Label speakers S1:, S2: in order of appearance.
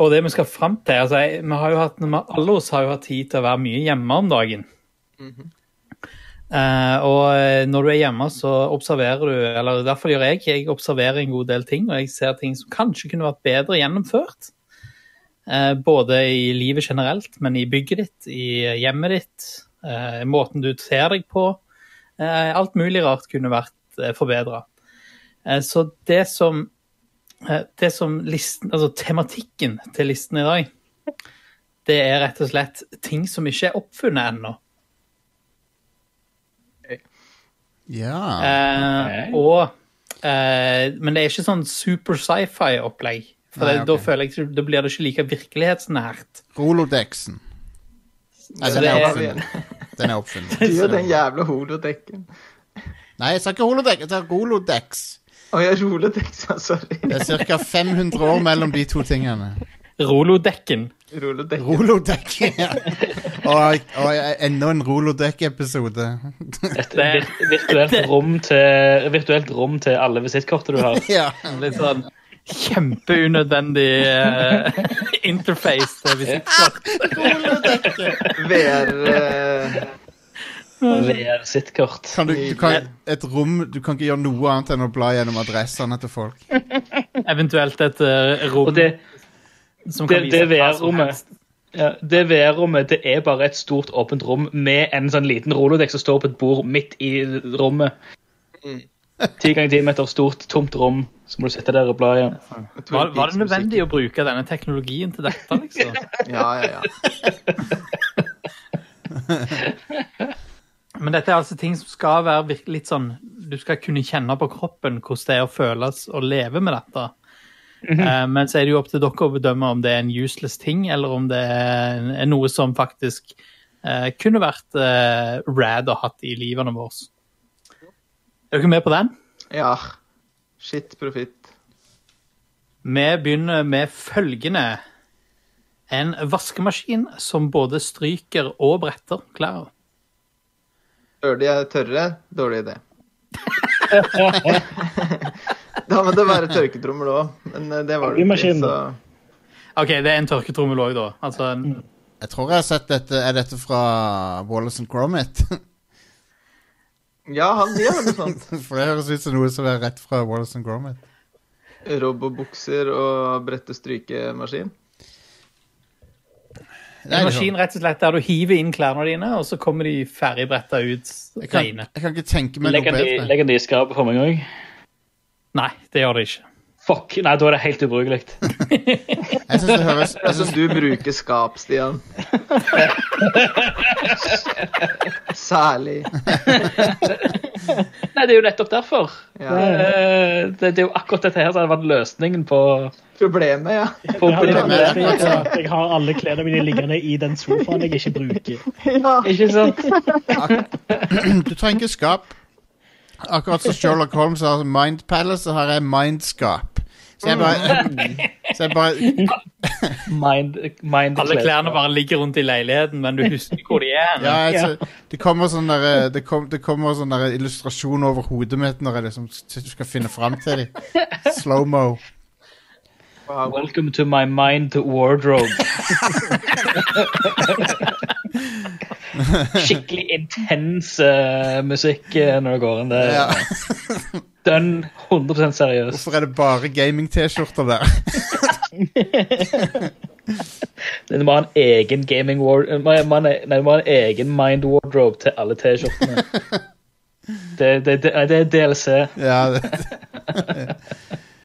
S1: Og det vi skal fram til altså, jeg- vi har jo hatt, vi, Alle oss har jo hatt tid til å være mye hjemme om dagen. Eh, og eh, når du er hjemme, så observerer du Eller i hvert fall gjør jeg. Jeg observerer en god del ting, og jeg ser ting som kanskje kunne vært bedre gjennomført. Eh, både i livet generelt, men i bygget ditt, i hjemmet ditt, eh, måten du ser deg på. Eh, alt mulig rart kunne vært eh, forbedra. Eh, så det som Eh, det som listen, altså tematikken til listen i dag, det er rett og slett ting som ikke er oppfunnet ennå.
S2: Ja.
S1: Eh, og, eh, men det er ikke sånn super sci-fi-opplegg. For
S2: Nei,
S1: det,
S2: ok.
S1: da føler jeg ikke, da blir det ikke like virkelighetsnært.
S2: Rolodexen. Nei,
S1: Så
S2: den
S1: det
S2: er
S1: er-
S2: oppfunnet. Den er oppfunnet.
S1: Så-
S3: Gjør den jævla holodekken.
S2: Nei, jeg sa ikke holodex, jeg sa rolodex.
S3: Å, jeg roledekk, sa sorry.
S2: Det er ca. 500 år mellom de to tingene.
S1: Rolodekken.
S3: Rolodekken.
S2: Rolodekk. Ja. Og, og enda en Rolodekk-episode.
S4: Et vir virtuelt, rom til, virtuelt rom til alle visittkortet du har.
S2: Ja.
S1: Litt sånn kjempeunødvendig eh, interface til visittkort.
S3: VR eh,
S4: VR-sittkort.
S2: Kan du, du kan, et rom Du kan ikke gjøre noe annet enn å bla gjennom adressene til folk.
S1: Eventuelt et eh, rom
S4: Og det,
S1: som kan
S4: det, det
S1: vise hva som
S4: VR-rommet
S1: helst.
S4: ja, Det VR-rommet det er bare et stort, åpent rom med en sånn liten rolodekk som står på et bord midt i rommet. Ti ganger ti meter stort, tomt rom. Så må du sitte der og bla igjen.
S1: Var, var det nødvendig å bruke denne teknologien til dette, liksom?
S3: Ja, ja, ja.
S1: Men dette er altså ting som skal være virke- litt sånn Du skal kunne kjenne på kroppen hvordan det er å føles å leve med dette. Eh, Men så er det jo opp til dere å bedømme om det er en useless ting, eller om det er en- er noe som faktisk eh, kunne vært eh, rad å hatt i livene våre. Er dere med på den?
S3: ja. Shit profitt.
S1: Vi begynner med følgende. En vaskemaskin som både stryker og bretter klær.
S3: Gjør de er tørre, dårlig idé. da må det være tørketrommel òg, men eh, det var det ikke.
S4: Maskin.
S3: Så
S1: OK, det er en tørketrommel òg, da. Altså en
S2: Jeg tror jeg har sett dette. Er dette fra Wallace and Gromit?
S3: ja, han gjør noe sånt.
S2: For det høres ut som noe som er rett fra Wallace and Gromit.
S3: Robobukser og brette strykemaskin.
S2: Nei,
S1: En
S2: det sånn.
S1: maskin rett og slett der du hiver inn klærne dine, og så kommer de ferdigbretta ut
S2: Jeg kan,
S1: reine.
S2: jeg kan ikke tenke meg noe
S4: Legger de,
S2: bedre.
S4: legger de i skapet for meg òg?
S1: Nei, det gjør det ikke.
S4: Fuck! Nei, da er det helt ubrukelig.
S2: Jeg synes det høres jeg
S3: Som
S2: synes,
S3: Altså, du bruker skap, Stian. Særlig.
S4: Nei, det er jo nettopp derfor.
S3: Ja.
S4: Eh, Det, det er jo akkurat dette her som hadde vært løsningen på,
S3: Problemet, ja.
S4: på
S5: Jeg har,
S2: med
S5: det
S2: deg.
S5: med at jeg har alle klærne mine liggende i den sofaen jeg ikke bruker.
S3: ja.
S4: Ikke sant?
S2: Du trenger ikke skap. Akkurat som Sherlock Holmes har Mind Palace, så har jeg Mindskap. Så jeg bare, så jeg bare
S4: Mind, mind
S1: Alle klærne bare ligger rundt i leiligheten, men du husker ikke hvor de er.
S2: Ja,
S1: Ja.
S2: altså, det kommer sånn der, det, kom, det kommer sånn der illustrasjon over hodet mitt når jeg liksom s- skal finne fram til dem. Slow-mo.
S3: Wow.
S4: Welcome to my mind wardrobe. Skikkelig intens eh, musikk eh, når det går inn. Det er
S2: Ja.
S4: dønn 100 seriøs.
S2: Hvorfor er det bare gaming-T-skjorter der?
S4: Det må ha en egen gaming war- eh, man- man- Nei, det må ha en egen mind wardrobe til alle T-skjortene. Det, det, det, det er DLC.
S2: Ja, det,